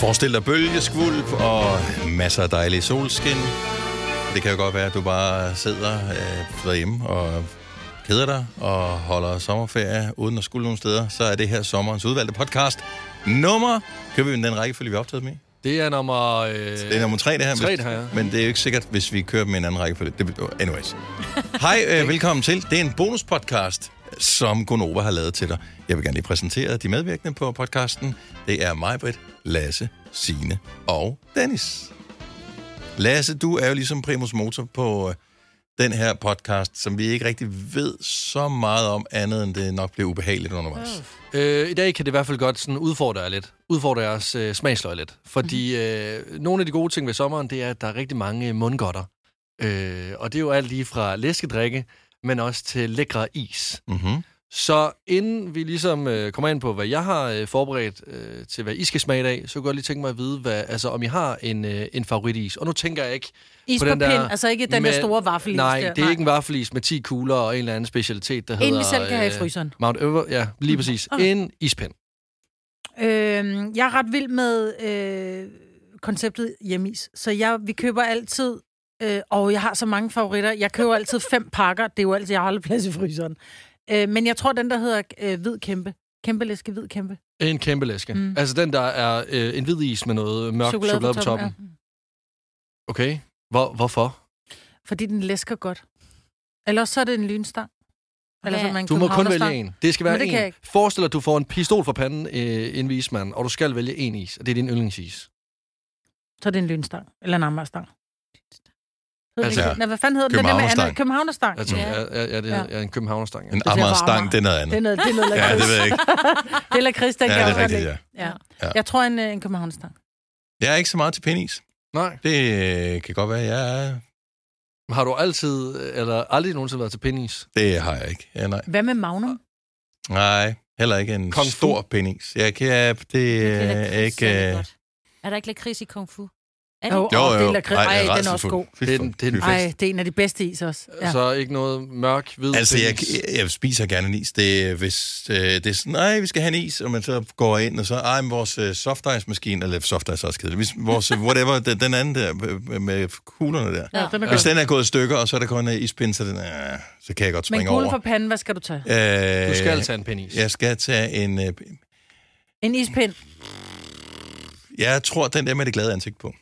Forestil dig bølgeskvulp og masser af dejlig solskin. Det kan jo godt være, at du bare sidder øh, derhjemme og keder dig og holder sommerferie uden at skulle nogen steder. Så er det her sommerens udvalgte podcast. Nummer, kører vi den rækkefølge, vi er optaget med? Det er nummer... Øh, det Det er nummer tre, det her. Tre, det her, ja. Men det er jo ikke sikkert, hvis vi kører dem i en anden rækkefølge. Det, anyways. Hej, øh, velkommen til. Det er en bonuspodcast, som Gonova har lavet til dig. Jeg vil gerne lige præsentere de medvirkende på podcasten. Det er mig, Britt, Lasse, Sine og Dennis. Lasse, du er jo ligesom primus motor på øh, den her podcast, som vi ikke rigtig ved så meget om andet, end det nok bliver ubehageligt undervejs. Øh, I dag kan det i hvert fald godt sådan udfordre jer lidt. Udfordre jeres øh, smagsløg lidt. Fordi Mhm. øh, nogle af de gode ting ved sommeren, det er, at der er rigtig mange øh, mundgodter. Øh, og det er jo alt lige fra læskedrikke, men også til lækre is. Mm-hmm. Så inden vi ligesom øh, kommer ind på, hvad jeg har øh, forberedt øh, til, hvad I skal smage i dag, så kunne jeg lige tænke mig at vide, hvad, altså, om I har en, øh, en favoritis. Og nu tænker jeg ikke Is på, på den pind, der altså ikke den der med- store vaffelis Nej, der. det er ikke en vaffelis med 10 kugler og en eller anden specialitet, der vi hedder... øh, selv kan have i fryseren. Mount Ever, ja, lige præcis. Okay. En ispind. Øhm, jeg er ret vild med øh, konceptet hjemmeis, så jeg, vi køber altid... Øh, og jeg har så mange favoritter. Jeg køber altid fem pakker. Det er jo altid, jeg har aldrig plads i fryseren. Øh, men jeg tror, den der hedder øh, Hvid Kæmpe. Kæmpe læske, Hvid Kæmpe. En kæmpe læske. Mm. Mm. Altså den, der er øh, en hvid is med noget mørk chokolade, chokolade på toppen. Ja. Okay. Hvor, hvorfor? Fordi den læsker godt. Ellers så er det en lynstang. Eller Hvad? så er man Du må kun vælge københavnerstang. en. Det skal Men være det kan jeg en. ikke. Forestil dig, at du får en pistol for panden øh, en vismand, og du skal vælge en is, og det er din yndlingsis. Så er det en lynstang. Eller en amagerstang. Altså, Altså, Nej, hvad fanden hedder den? Den der med Københavnerstang. Anna- Københavnerstang. Altså, Ja. ja. Er, er, er, det, Ja. er en københavnerstang. Ja. En ser varmere. ammerstang, det er noget andet. Det er noget, det er noget Ja, det lakrids. ved jeg ikke. det er lakrids, der Ja, kan det jeg er også rigtigt, godt ja. lide. ja. Ja. Jeg tror, en, øh, en københavnerstang. Jeg er ikke så meget til penis. Nej. Det øh, kan godt være, jeg er. Har du altid, eller aldrig nogensinde været til penis? Det har jeg ikke. Ja, nej. Hvad med magnum? nej, heller ikke en Kung Kung fu. stor penis. Jeg kan, det Det er øh, lakrids, ikke... er det Øh, godt. Er der ikke lakrids i kung fu? Er Jo, det? jo, jo. Det er lakrids. Ej, den er også god. Fy Det er den- for- det er den fy for- bedste. Ej, det er en af de bedste is også. Ja. Ja. Så ikke noget mørk, hvid Altså, jeg, penis? jeg, jeg spiser gerne en is. Det, er, hvis øh, det er sådan, nej, vi skal have en is, og man så går ind, og så, ej, men vores øh, softice-maskine, eller softice er også kedeligt, Hvis vores, øh, whatever, den, den anden der, øh, med kuglerne der. Ja, den er Hvis god. den er gået i stykker, og så er der kun en ispind, så, den, øh, så kan jeg godt Men springe kuglen over. for panden, hvad skal du tage? Øh, Du skal tage en penis. Jeg skal tage en... Øh, En ispind. jeg tror, den der med det glade ansigt på.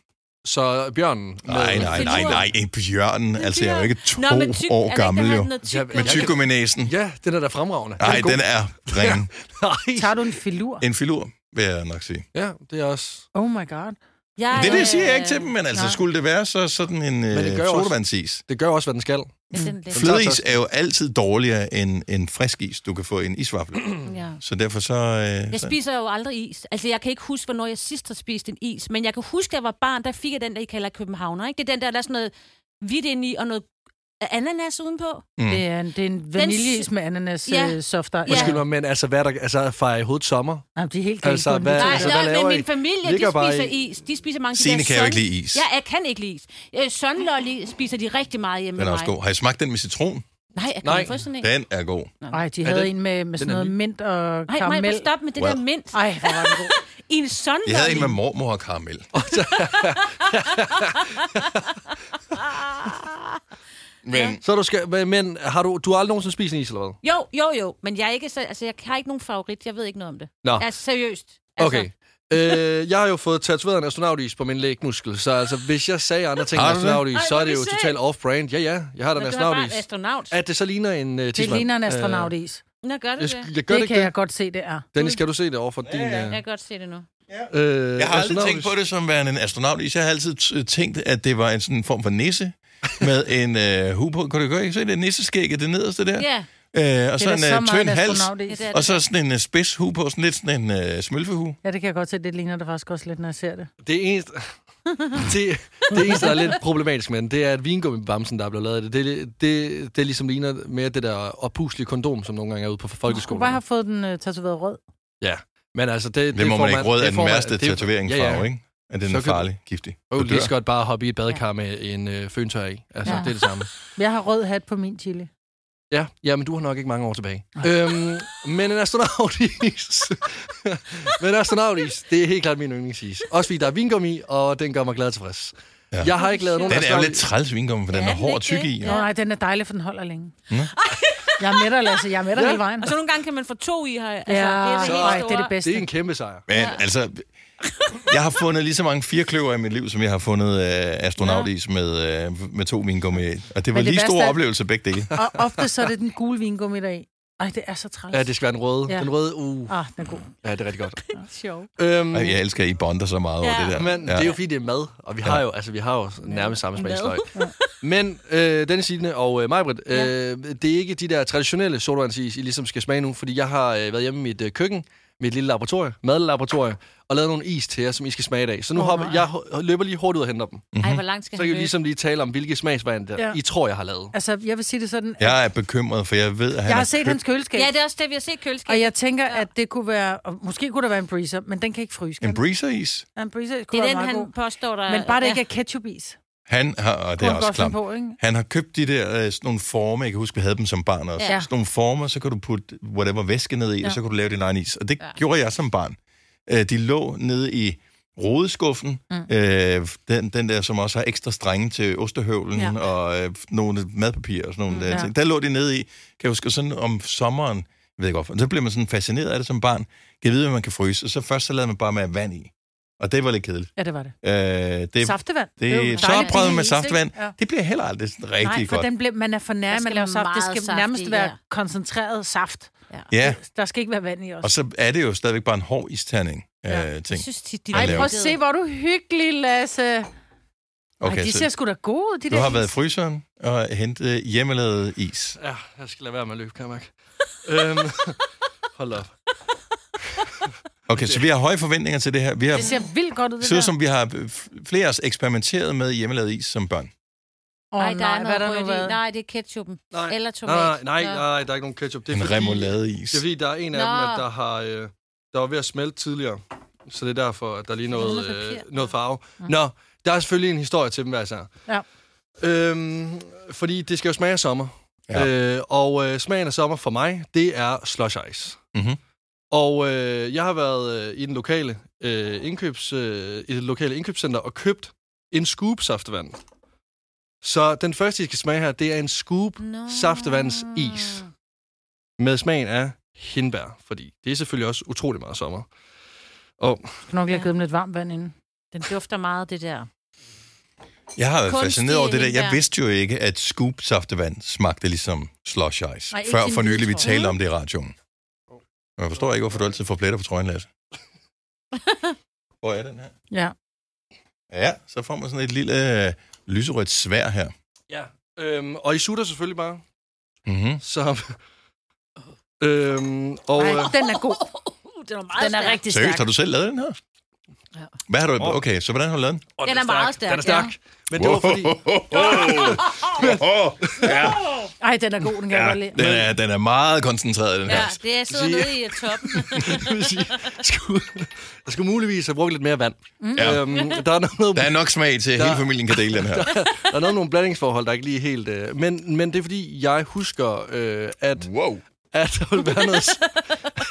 Så bjørnen... Nej, med- nej, nej, nej. En bjørn. Altså, jeg er jo ikke to Nå, Nå, men tyk, år gammel, jo. Ja, Med tyk, men Med Jeg tyk næsen. Ja, den er da fremragende. Nej, god. den er ren. Nej. Tager du en filur? En filur, vil jeg nok sige. Ja, det er også... Oh my god. Mm. jeg, Det, det siger jeg øh, ikke til dem, men altså, nej. skulle det være så sådan en det øh, gør jo også- sodavandsis. Det gør også, hvad den skal. ja, den er lidt- Flødeis er jo altid dårligere end en frisk is. Du kan få i en isvaffel. Ja. Så derfor så... Øh, Jeg så- spiser jo aldrig is. Altså, jeg kan ikke huske, hvornår jeg sidst har spist en is, men jeg kan huske, at jeg var barn, der fik jeg den, der I kalder københavner, ikke? Det er den der, der er sådan noget hvidt ind i, og noget ananas udenpå. Mm. Det er en, det er en vaniljeis med ananas øh, Ja. ja. soft ice. Undskyld mig, men altså, hvad er der... Altså, fejre i hovedet sommer? Jamen, de er helt Altså, hvad- galt på den. Nej, altså, altså, hvad nej, laver men I? min familie, Ligger de bare spiser i- is. De spiser mange af de Signe der kan jo ikke sun- lide is. Ja, jeg kan ikke lide is. Øh, Sunlolly spiser de rigtig meget hjemme Den er med også mig. god. Har I smagt den med citron? Nej, jeg kan Nej. ikke få sådan en. Den er god. Ej, de Er havde den- en med, med sådan den er noget ny. mint og Nej, nej, karamel. men stop med det Well. der mint. Ej, hvor var den god. I en sunlolly. Jeg havde en med mormor og karamel. Men Så du skal... hvad- Men har du... Du har aldrig nogensinde spist en is, eller hvad? Jo, jo, jo. Men jeg, er ikke, så- altså, jeg har ikke nogen favorit. Jeg ved ikke noget om det. Nå. Altså, seriøst. Altså, Okay. øh, jeg har jo fået tatoveret en astronautis på min lægmuskel, så altså, hvis jeg sagde andre ting end Har du det? astronautis, Ej, så er hvor det jo vi totalt off-brand. Ja, ja, jeg har da en Men du har bare en astronautis. astronaut. At det så ligner en uh, Det ligner en astronautis. Nå, gør Øh, det jeg, det? sk- jeg gør det Det ikke kan jeg det. godt se, det er. Dennis, skal du se det over for din... Jeg Uh, kan godt se det nu. øh, Jeg har aldrig tænkt astronautis? på det som værende en astronaut. is. Jeg har altid t- tænkt, at det var en sådan form for nisse med en øh, hue på. Kan du godt ikke se det? Nisseskægget, det nederste der. Ja, Øh, og Det er så da en så øh, meget tynd en hals. astronautis. det er Og det. så sådan en øh, spids hue på. Sådan lidt sådan en øh, smølfehue. Ja, det kan jeg godt se. Det ligner det faktisk også lidt, når jeg ser det. Det eneste... det, det eneste, der er lidt problematisk med den, det er, at vingummibamsen, der er blevet lavet af det, det, det, det ligesom ligner mere det der opuslige kondom, som nogle gange er ude på Du skulle folkeskolen. bare have fået den uh, tatoveret rød. Ja, men altså det... Det må får man ikke råde det af den får man- værste det- tatoveringsfarve, ikke? At den Så er kan- farlig, giftig. Og Du lige dør. så godt bare hoppe i et badekar med en øh, føntør i. Altså, ja. Ja. det er det samme. Jeg har rød hat på min chili. Ja, ja, men du har nok ikke mange år tilbage. øhm, men en astronautis. men en astronautis, det er helt klart min yndlingsis. Også fordi der er vingummi, i, og den gør mig glad og tilfreds. Ja. Ja. Jeg har ikke lavet nogen Den er jo astronautis- lidt træls vingummi, for den Ja, er den hård er og tyk ikke i. det? Ja. Nå, nej, den er dejlig, for den holder længe. Mm. Jeg er med dig, Lasse. Jeg er med dig ja. hele vejen. Og så nogle gange kan man få to i her. Altså, Ja, det, er det, så- helt Ej, store. det er det bedste. Det er en kæmpe sejr. Men ja. altså, jeg har fundet lige så mange firkløver i mit liv, som jeg har fundet øh, astronautis ja. med, øh, med to vingummi. i. Og det var Men det lige værste store er- oplevelser begge dele. Og ofte så er det den gule vingummi der er i. Ej, det er så træls. Ja, det skal være den røde. Ja. Ja. Den røde, uh. Ah, den er god. Ja, det er rigtig godt. Sjov. Øhm, Ej, Jeg elsker, at I bonder så meget over Ja. det der. Men ja. det er jo fordi, det er mad, og vi har jo, altså, vi har jo nærmest samme smagsløg. Men øh, Dennis Signe og øh, Majbrit, øh, det er ikke de der traditionelle sodavandsis, I ligesom skal smage nu, fordi jeg har øh, været hjemme i mit øh, køkken, mit lille laboratorie, madlaboratorie, og lavet nogle is til jer, som I skal smage i dag. Så nu Åh, oh, hopper, nej. jeg ho- løber lige hurtigt ud og henter dem. Ej, hvor langt skal Så han kan vi løbe? ligesom lige tale om, hvilke smagsvand der Ja. ja. I tror, jeg har lavet. Altså, jeg vil sige det sådan. at Jeg er bekymret, for jeg ved, at han Jeg er har set hans køleskab. Ja, det er også det, vi har set køleskab. Og jeg tænker, at det kunne være... Og måske kunne der være en breezer, men den kan ikke fryse. en Kan? breezer-is. den? Ja, en breezer det kunne er være den, meget han god. påstår, der Men bare det ikke er ketchup-is. Han har, og det Kunne er han også godt finde klamt. på, ikke? Han har købt de der øh, sådan nogle former, jeg kan huske, vi havde dem som barn også. Ja. Ja. Sådan nogle former, så kan du putte whatever væske ned i, ja. og så kan du lave din egen is. Og det ja. gjorde jeg som barn. Øh, de lå nede i rodeskuffen, mm. øh, den, den der, som også har ekstra strenge til ostehøvlen, Ja. ja. og øh, nogle madpapir og sådan nogle mm, ja. ja. ting. Der lå de nede i, kan jeg huske, sådan om sommeren, jeg ved ikke hvorfor, så blev man sådan fascineret af det som barn. Jeg ved, hvad man kan fryse, og så først så lavede man bare med vand i. Og det var lidt kedeligt. Ja, det var det. Øh, det, Saftevand. det, er jo det dejligt. så med Is, ikke? saftvand. Ja. Det bliver heller aldrig sådan rigtig Nej, for godt. den bliver, man er for nær, Der man skal laver saft. Det meget skal saft nærmest i, være ja. koncentreret saft. Ja, Der skal ikke være vand i os. og så er det jo stadigvæk bare en hård isterning. Ja. Ja. Øh, ting. Jeg synes tit, de Ej, Ej, lave. prøv at se, hvor er du hyggelig, Lasse. Okay, Ej, Okay, de ser så sgu da gode ud, de du der har været i is. fryseren og hentet hjemmelavet is. Ja, jeg skal lade være med at løbe, kan jeg mærke. øhm, hold op. Okay, så vi har høje forventninger til det her. Vi har Det ser vildt godt ud, det ser ud der. som, vi har øh, f- flere af os eksperimenteret med hjemmelavet is som børn. Åh, Nej, der er hvad noget nu rødt i. været? Nej, det er ketchupen. Nej. Eller tomat. Nej, nej, Nå. nej, nej, der er ikke nogen ketchup. Det er En fordi, remouladeis. Det er fordi, der er en af Nå. dem, at der, har, øh, der var ved at smelte tidligere. Så det er derfor, at der er lige noget, noget papir. øh, noget farve. Nå, der er selvfølgelig en historie til dem hver især. Ja. Øhm, fordi det skal jo smage af sommer. Ja. Ja. Øh, og øh, smagen af sommer for mig, det er slush ice. Mhm. Og øh, jeg har været øh, i, den lokale, øh, indkøbs, øh, i det lokale indkøbscenter og købt en scoop saftevand. Så den første, I skal smage her, det er en scoop Nå. saftevandsis med smagen af hindbær, fordi det er selvfølgelig også utrolig meget sommer. Og Skal nok lige have givet dem lidt varmt vand inden. Den dufter meget, det der. Jeg har været Kunstige fascineret over det der. Jeg hindbær. vidste jo ikke, at scoop saftevand smagte ligesom slush ice. Nej, ikke Før sådan for nylig, vi hvidtrøje. talte om det i radioen. Men jeg forstår ikke, hvorfor du altid får pletter på trøjen, Lasse. Hvor er den her? Ja. Ja, så får man sådan et lille øh, lyserødt svær her. ja, øhm, og I sutter selvfølgelig bare. Mm-hmm. Så, øhm, og Ej, øh, den er god. Den er Uh, meget Den er stærk. rigtig Seriøst, stærk. har du selv lavet den her? Ja. Hvad har du... Åh. Okay, så hvordan har du lavet den? og Den er meget stærk, Den er stærk. ja. Men det var fordi... Ej, den er god, den kan jeg godt lide. Den er, den er meget koncentreret, den her. Ja, det er sidder Sige- nede i øh, toppen. det vil sige, jeg skulle, jeg skulle muligvis have brugt lidt mere vand. Mm. Ja. Øhm, der, er noget, Der er nok smag til, at hele Der- familien kan dele den her. der er noget, nogle blandingsforhold, der ikke lige er helt... Øh, men, men det er fordi, jeg husker, øh, at, Wow. at der ville være noget...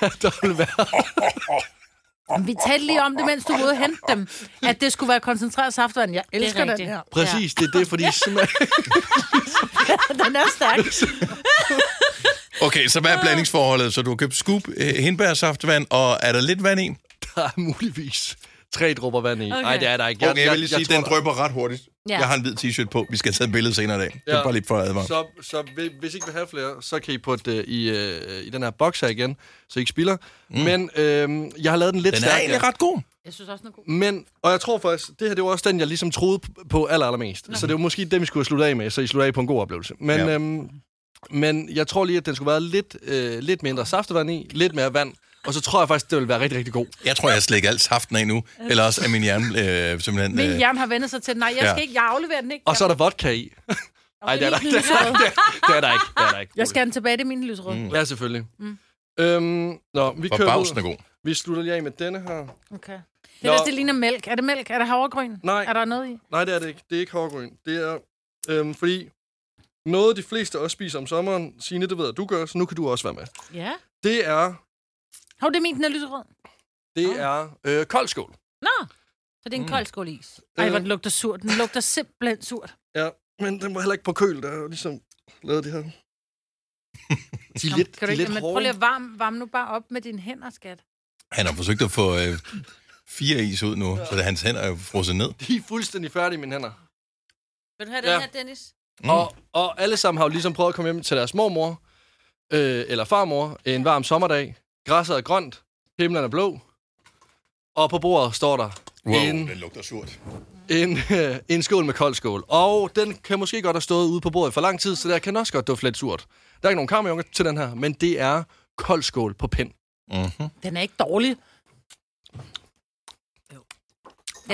At der ville være Men Vi talte lige om det, mens du var ude og hente dem. At det skulle være koncentreret saftvand. Jeg elsker den rigtigt. her. Præcis, det er det, fordi sådan er, Den er stærk. Okay, så hvad er blandingsforholdet? Så du har købt scoop, øh, hindbærsaftevand, og er der lidt vand i? der er muligvis tre dråber vand i. Nej, Okay. okay. det er der ikke. Okay, jeg vil lige sige, den tror, drøber ret hurtigt. Ja. Jeg har en hvid t-shirt på. Vi skal tage et billede senere i dag. Det er Ja. bare lidt for at der- advare. Så, så hvi- hvis I ikke vil have flere, så kan I putte det i, øh, i den her boks her igen, så I ikke spilder. Mm. Men øh, jeg har lavet den lidt Den er stærkere. egentlig ret god. Jeg synes også, den er god. Men, og jeg tror faktisk, det her det var også den, jeg ligesom troede p- på aller, allermest. Nå. Så det var måske dem, vi skulle have sluttet af med, så I slutter af på en god oplevelse. Men, Ja. ja. øhm, men jeg tror lige, at den skulle være lidt, øh, lidt mindre saftevand i, lidt mere vand, og så tror jeg faktisk, det ville være rigtig, rigtig god. Jeg tror, jeg har slikket alt saften af nu. Eller også er min hjerne øh, simpelthen... Min Øh, hjerne har vendt sig til, nej, jeg skal Ja. ikke, jeg afleverer den ikke. Og så er der vodka i. Nej, det er der ikke. Det er der ikke. Det er der ikke. Det er der ikke. Jeg skal have den tilbage, det er min lysrød. Mm. Ja, selvfølgelig. Mm. Øhm, nå, vi kører forbavsende ud. god. Vi slutter lige af med denne her. Okay. Det, er, Mm. Nå. hvis det ligner mælk. Er det mælk? Er der havregryn? Nej. Er der noget i? Nej, det er det ikke. Det er ikke havregryn. Det er, øhm, fordi Noget, de fleste også spiser om sommeren. Signe, det ved jeg, du gør, så nu kan du også være med. Ja. Det er, Hov, det er min, den er lyserød. det er øh, koldskål. Nå, så det er en Mm. mm. kold skål is. Ej, Øh, hvor den lugter surt. Den lugter simpelthen surt. Ja, Øh, men den var heller ikke på køl, der er jo ligesom lavet det her. De er Nå, lidt, kan de er du ikke, lidt men prøv hårde. lige at varme, varme nu bare op med dine hænder, skat. Han har forsøgt at få øh, fire is ud nu, så det, hans hænder er jo frosset ned. De er fuldstændig færdige i mine hænder. Vil du have Ja. den her, Dennis? Mm. Og, og alle sammen har jo ligesom prøvet at komme hjem til deres mormor, øh, eller farmor, en varm sommerdag. Græsset er grønt, himlen er blå, og på bordet står der Wow, en, den lugter surt. en, øh, en skål med kold skål. Og den kan måske godt have stået ude på bordet for lang tid, så der kan også godt dufte lidt surt. Der er ikke nogen kammerjunker til den her, men det er kold skål på pind. Mm-hmm. Den er ikke dårlig. Den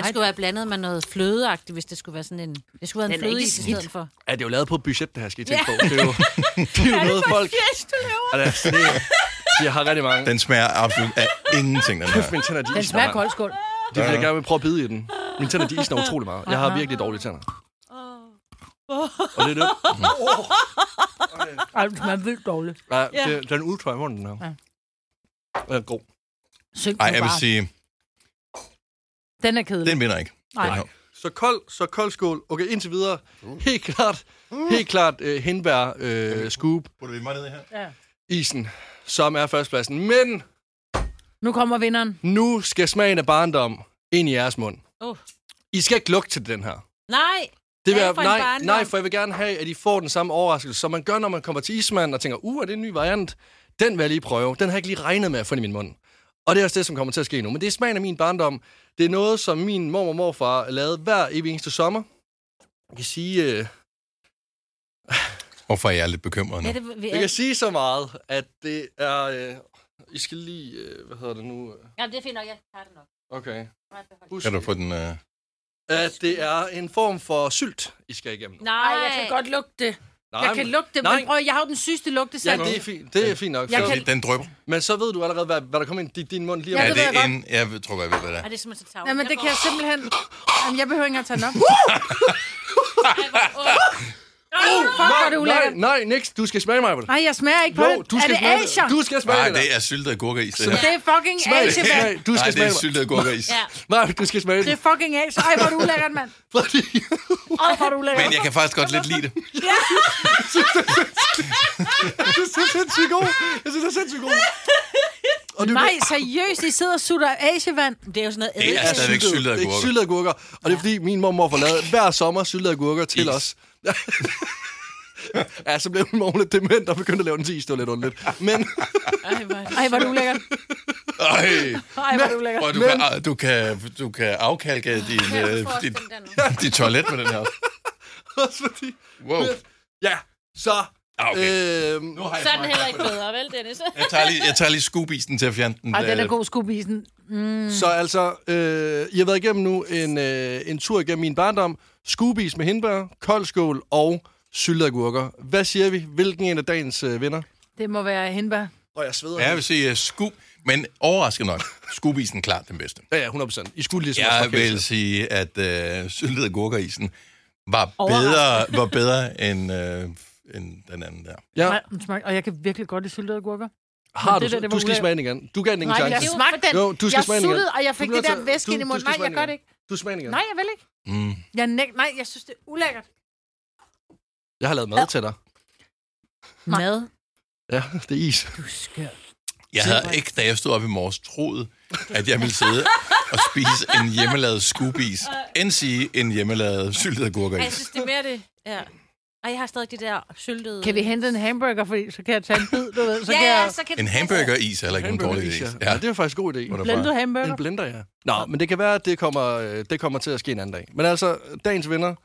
Nej, skulle være blandet med noget flødeagtigt, hvis det skulle være sådan en... Det skulle være en Den er ikke flødeis i skidt. stedet for. Ja, det er jo lavet på et budget, det her, skal I tænke på. Det er jo, det er jo noget, folk... du laver? Ja, det er sådan, det, de har rigtig mange. Den smager absolut af ingenting, den her. Kæft, mine tænder, de Den isner, smager mand. kold skål. Det vil jeg gerne vil prøve at bide i den. Mine tænder, de isner utrolig meget. Jeg har virkelig dårlige tænder. Og det er det. Ej, den smager vildt dårlig. Ja, det den er udtør i munden, den her. Den er god. Synk Ej, nu jeg vil bare. sige, Den er kedelig. den vinder ikke. Nej. Den her. Så kold, så kold skål. Okay, indtil videre. Helt klart, helt klart uh, henbær uh, scoop Putter vi mig ned i her? Ja. isen, som er førstepladsen. Men Nu kommer vinderen. nu skal smagen af barndom ind i jeres mund. Oh. I skal ikke lugte til den her. Nej, Det vil Hvad jeg, for en nej, barndom? nej, for jeg vil gerne have, at I får den samme overraskelse, som man gør, når man kommer til ismanden og tænker, uh, er det en ny variant? Den vil jeg lige prøve. Den har jeg ikke lige regnet med at få den i min mund. Og det er også det, som kommer til at ske nu. Men det er smagen af min barndom. Det er noget, som min mor og morfar lavede hver evig eneste sommer. Jeg kan sige, øh, Hvorfor er jeg lidt bekymret nu? ja, det vil jeg kan sige så meget, at det er... Øh, I skal lige... Øh, hvad hedder det nu? Jamen, det er fint nok. Jeg tager det nok. Okay. Bare behold. Husk, Kan du få den... Øh... at det er en form for sylt, I skal igennem. nu. Nej, Ej, jeg kan godt lugte det. Nej, Jeg kan men- lugte det, nej. men prøv, jeg har jo den sygeste lugte Ja, selv. det er fint, det er fint nok. Jeg Så- kan- Den drøber. Men så ved du allerede, hvad, hvad der kommer ind i din mund lige om Ja, Er det det ved jeg en... Jeg tror, jeg ved, hvad det Ej, er. det er simpelthen så tavligt. Ja, men det kan jeg simpelthen... Jamen, jeg behøver ikke engang tage den op. Uh, fuck, hvor er det nej, ulækkert. nej, Nix, du skal smage mig på det. Nej, jeg smager ikke på Jo, det. du skal er det smage Asia? det. Du skal smage Nej, det. det er syltet agurkeis, det her. Det er fucking Smag det. Asia, mand. Smag- Du Nej, skal det smage er mig. syltet agurkeis. Ja. Nej, du skal smage Det det. er fucking Asia. Ej, hvor er det ulækkert, mand. Fordi Ej, hvor er Men det ulækkert. jeg kan faktisk godt lidt lide det. jeg synes, det er sindssygt god. Jeg synes, det er sindssygt god. Og det, Nej, seriøst, I sidder og sutter Asia-vand. Det er jo sådan noget Det er ædelkage. stadigvæk syltet Det er ikke agurker. Altså, syltede agurker. Og det er fordi, min mormor får lavet hver sommer syltede agurker til Is. os. ja, så blev min mor lidt dement og begyndte at lave den til is. Det var lidt underligt. Men Ej, hvor er det- Ej, hvor er det ulækkert. Ej, Ej, hvor er det ulækkert. prøv, du, kan, du, kan, du kan afkalke din, Kan øh, du forestille dit, dig nu? dit toilet med den her. også fordi... Wow. Ja, så... Ah, Okay. Øh, Så er den heller ikke bedre, vel, Dennis? Jeg tager lige, jeg tager lige skubisen til at fjerne den. Ej, den er øh, god skubisen. Mm. Så altså, øh, I har været igennem nu en, øh, en tur igennem min barndom. Skuebis med hindbær, koldskål og syltede agurker. Hvad siger vi? Hvilken en af dagens øh, vinder? Det må være hindbær. Og jeg sveder. Ja, Ja, jeg vil sige uh, skub, men overraskende nok, skubisen klart den bedste. ja, 100%. I skulle ligesom også Jeg forkæle vil sig. sige, at øh, syltet agurkerisen var bedre, Overraskende. var bedre end, øh, end den anden der. Ja, Nej, den smager- mm, og jeg kan virkelig godt lide syltede agurker. har men du, det der, det, det det var du skal ulækkert. smage den igen. Du gav den ingen Nej, jeg chance. chance. smagte den. Jo, du skal jeg smage den igen. suttede, og jeg fik Du bliver det der nødt til- væske du- ind i du munden. skal Nej, smage jeg den gør igen. det ikke. Du smager den igen. Nej, jeg vil ikke. Mm. Jeg næg... Nej, jeg synes, det er ulækkert. Jeg har lavet mad til dig. Mad. Ja, det er is. Du skør. Jeg havde ikke, da jeg stod op i morges, troet, at jeg ville sidde og spise en hjemmelavet skubis, end sige en hjemmelavet syltet Ej, jeg synes, agurkeris. det er mere det. Ja. Ej, jeg har stadig de der syltede... Kan vi hente en hamburger, fordi så kan jeg tage en bid, du ved. Så Ja, kan ja, jeg... så kan altså, En hamburgeris er heller ikke en dårlig Hamburgeris, idé. Ja. ja, det er faktisk en god idé. Hvor der Blendet bare- hamburger. En blender, ja. Nå, men det kan være, at det kommer, øh, det kommer til at ske en anden dag. Men altså, dagens vinder,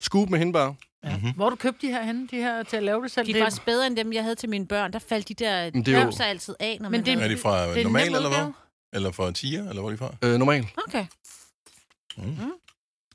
scoop med hindbær. øh, Mhm. Hvor har du købt de her henne, de her til at lave det selv? De er faktisk bedre end dem, jeg havde til mine børn. Der faldt de der Men det er jo- dømser altid af, når Men man det- havde- Er de det fra er en normal, nem eller hvad? udgave. Eller fra tiger, eller hvor er de fra? Øh, normal. Okay.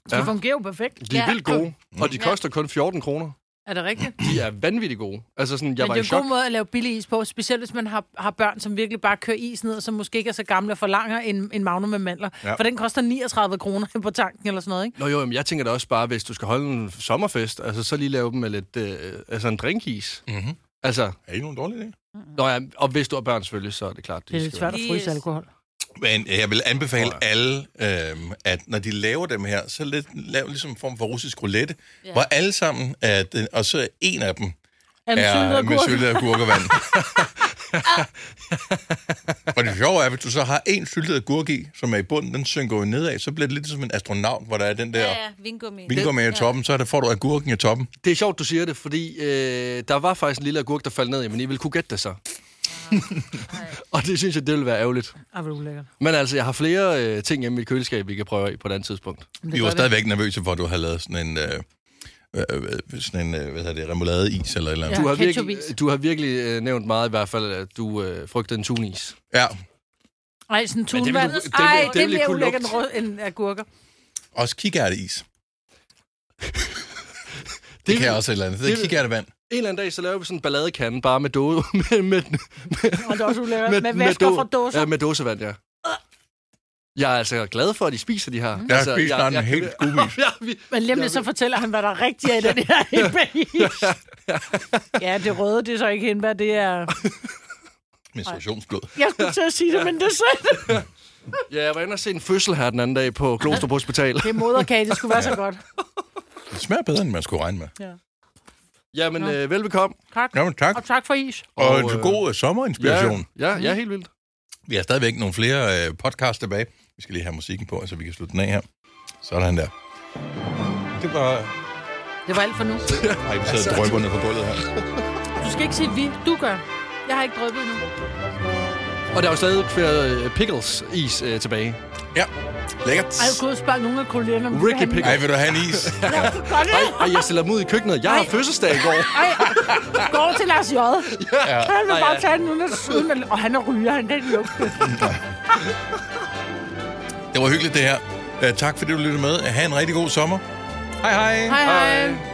Det fungerer jo perfekt. De er Ja. vildt gode, og de Ja. koster kun 14 kroner. Er det rigtigt? De er vanvittigt gode. Altså sådan, jeg Men var i det er en chok. god måde at lave billig is på, specielt hvis man har, har børn, som virkelig bare kører is ned, og som måske ikke er så gamle og forlanger en, en magnum med mandler. Ja. Ja. For den koster 39 kroner på tanken eller sådan noget, ikke? Nå jo, men jeg tænker da også bare, hvis du skal holde en sommerfest, altså så lige lave dem med lidt, øh, altså en drinkis. Mm-hmm. Altså, Er ikke nogen dårlig idé? nå ja, og hvis du har børn selvfølgelig, så er det klart, Det er lidt svært at Lige- fryse alkohol. Men øh, jeg vil anbefale Tror alle, øhm, at når de laver dem her, så lidt, lav ligesom en form for russisk roulette, Ja. hvor alle sammen, er den, og så er en af dem, Er den er syltet med agurk? syltet agurk og vand. og det sjove er, hvis du så har en syltet agurk i, som er i bunden, den synker jo nedad, så bliver det lidt som en astronaut, hvor der er den der Ja, ja, ja, vingummi. med i toppen, så er der, får du agurken i toppen. Det er sjovt, du siger det, fordi øh, der var faktisk en lille agurk, der faldt ned i, men I ville kunne gætte det så. Ah, og det synes jeg, det ville være ærgerligt. Ej, hvor er det ulækkert. Men altså, jeg har flere øh, ting hjemme i mit køleskab, vi kan prøve af på et andet tidspunkt. Men det Vi var gør det. stadigvæk nervøse for, at du havde lavet sådan en, øh, øh, øh, sådan en øh, hvad hedder det, remoulade-is eller et eller andet. Ja, Du har, virkelig, ketchup-is. du har virkelig øh, nævnt meget i hvert fald, at du øh, frygtede en tunis. Ja, Ej, sådan en Men det ville tunvand. du- det ville- Ej, det det er ville mere kunne ulækkert end, lugte. rød- end agurker. også kikærteis. Det, Det kan jeg også et eller andet. Det det er vil- Altså, kikærtevand. En eller anden dag, så laver vi sådan en balladekande, bare med, dåse, med, med, Og det er også ulækkert. med, Med, med væsker då- fra dåser. Ja, med dåsevand, ja. Jeg er altså glad for, at de spiser de her. Jeg altså, har spist jeg, en helt skumis. ja, vi, Men lige om lidt, så fortæller han, hvad der rigtigt er i den her hindbæris. ja, det røde, det er så ikke hindbær, det er... Menstruationsblod. Jeg skulle til at sige det, men det er sandt. ja, jeg var inde og se en fødsel her den anden dag på Klostrup Hospital. Det er moderkage, det skulle være så godt. Det smager bedre, end man skulle regne med. Jamen, Nå. øh, velbekomme. Tak. Jamen tak. Og tak for is. Og, Og, og en øh, god øh, sommerinspiration. Ja, ja, Mm. ja, helt vildt. Vi har stadigvæk nogle flere øh, podcasts tilbage. Vi skal lige have musikken på, så vi kan slutte den af her. Sådan der. Det var... Det var alt for nu. Ej, vi sidder og drøber ned på gulvet her. Du skal ikke sige vi. Du gør. Jeg har ikke drøbet endnu. Og der er jo stadig flere pickles-is øh, tilbage. Ja, lækkert. Ej, jeg kunne spørge nogle af kollegerne, om Ricky pick. Ej, vil du have en is? Ej, ej, jeg stiller dem ud i køkkenet. Jeg har Ej. fødselsdag i går. Ej, går til Lars J. Ja. Han vil Ej, bare ja. tage den uden at skyde, men... og han er ryger, han den lugte. Det var hyggeligt, det her. Øh, tak fordi du lyttede med. Ha' en rigtig god sommer. Hej hej. Hej, hej. Hej.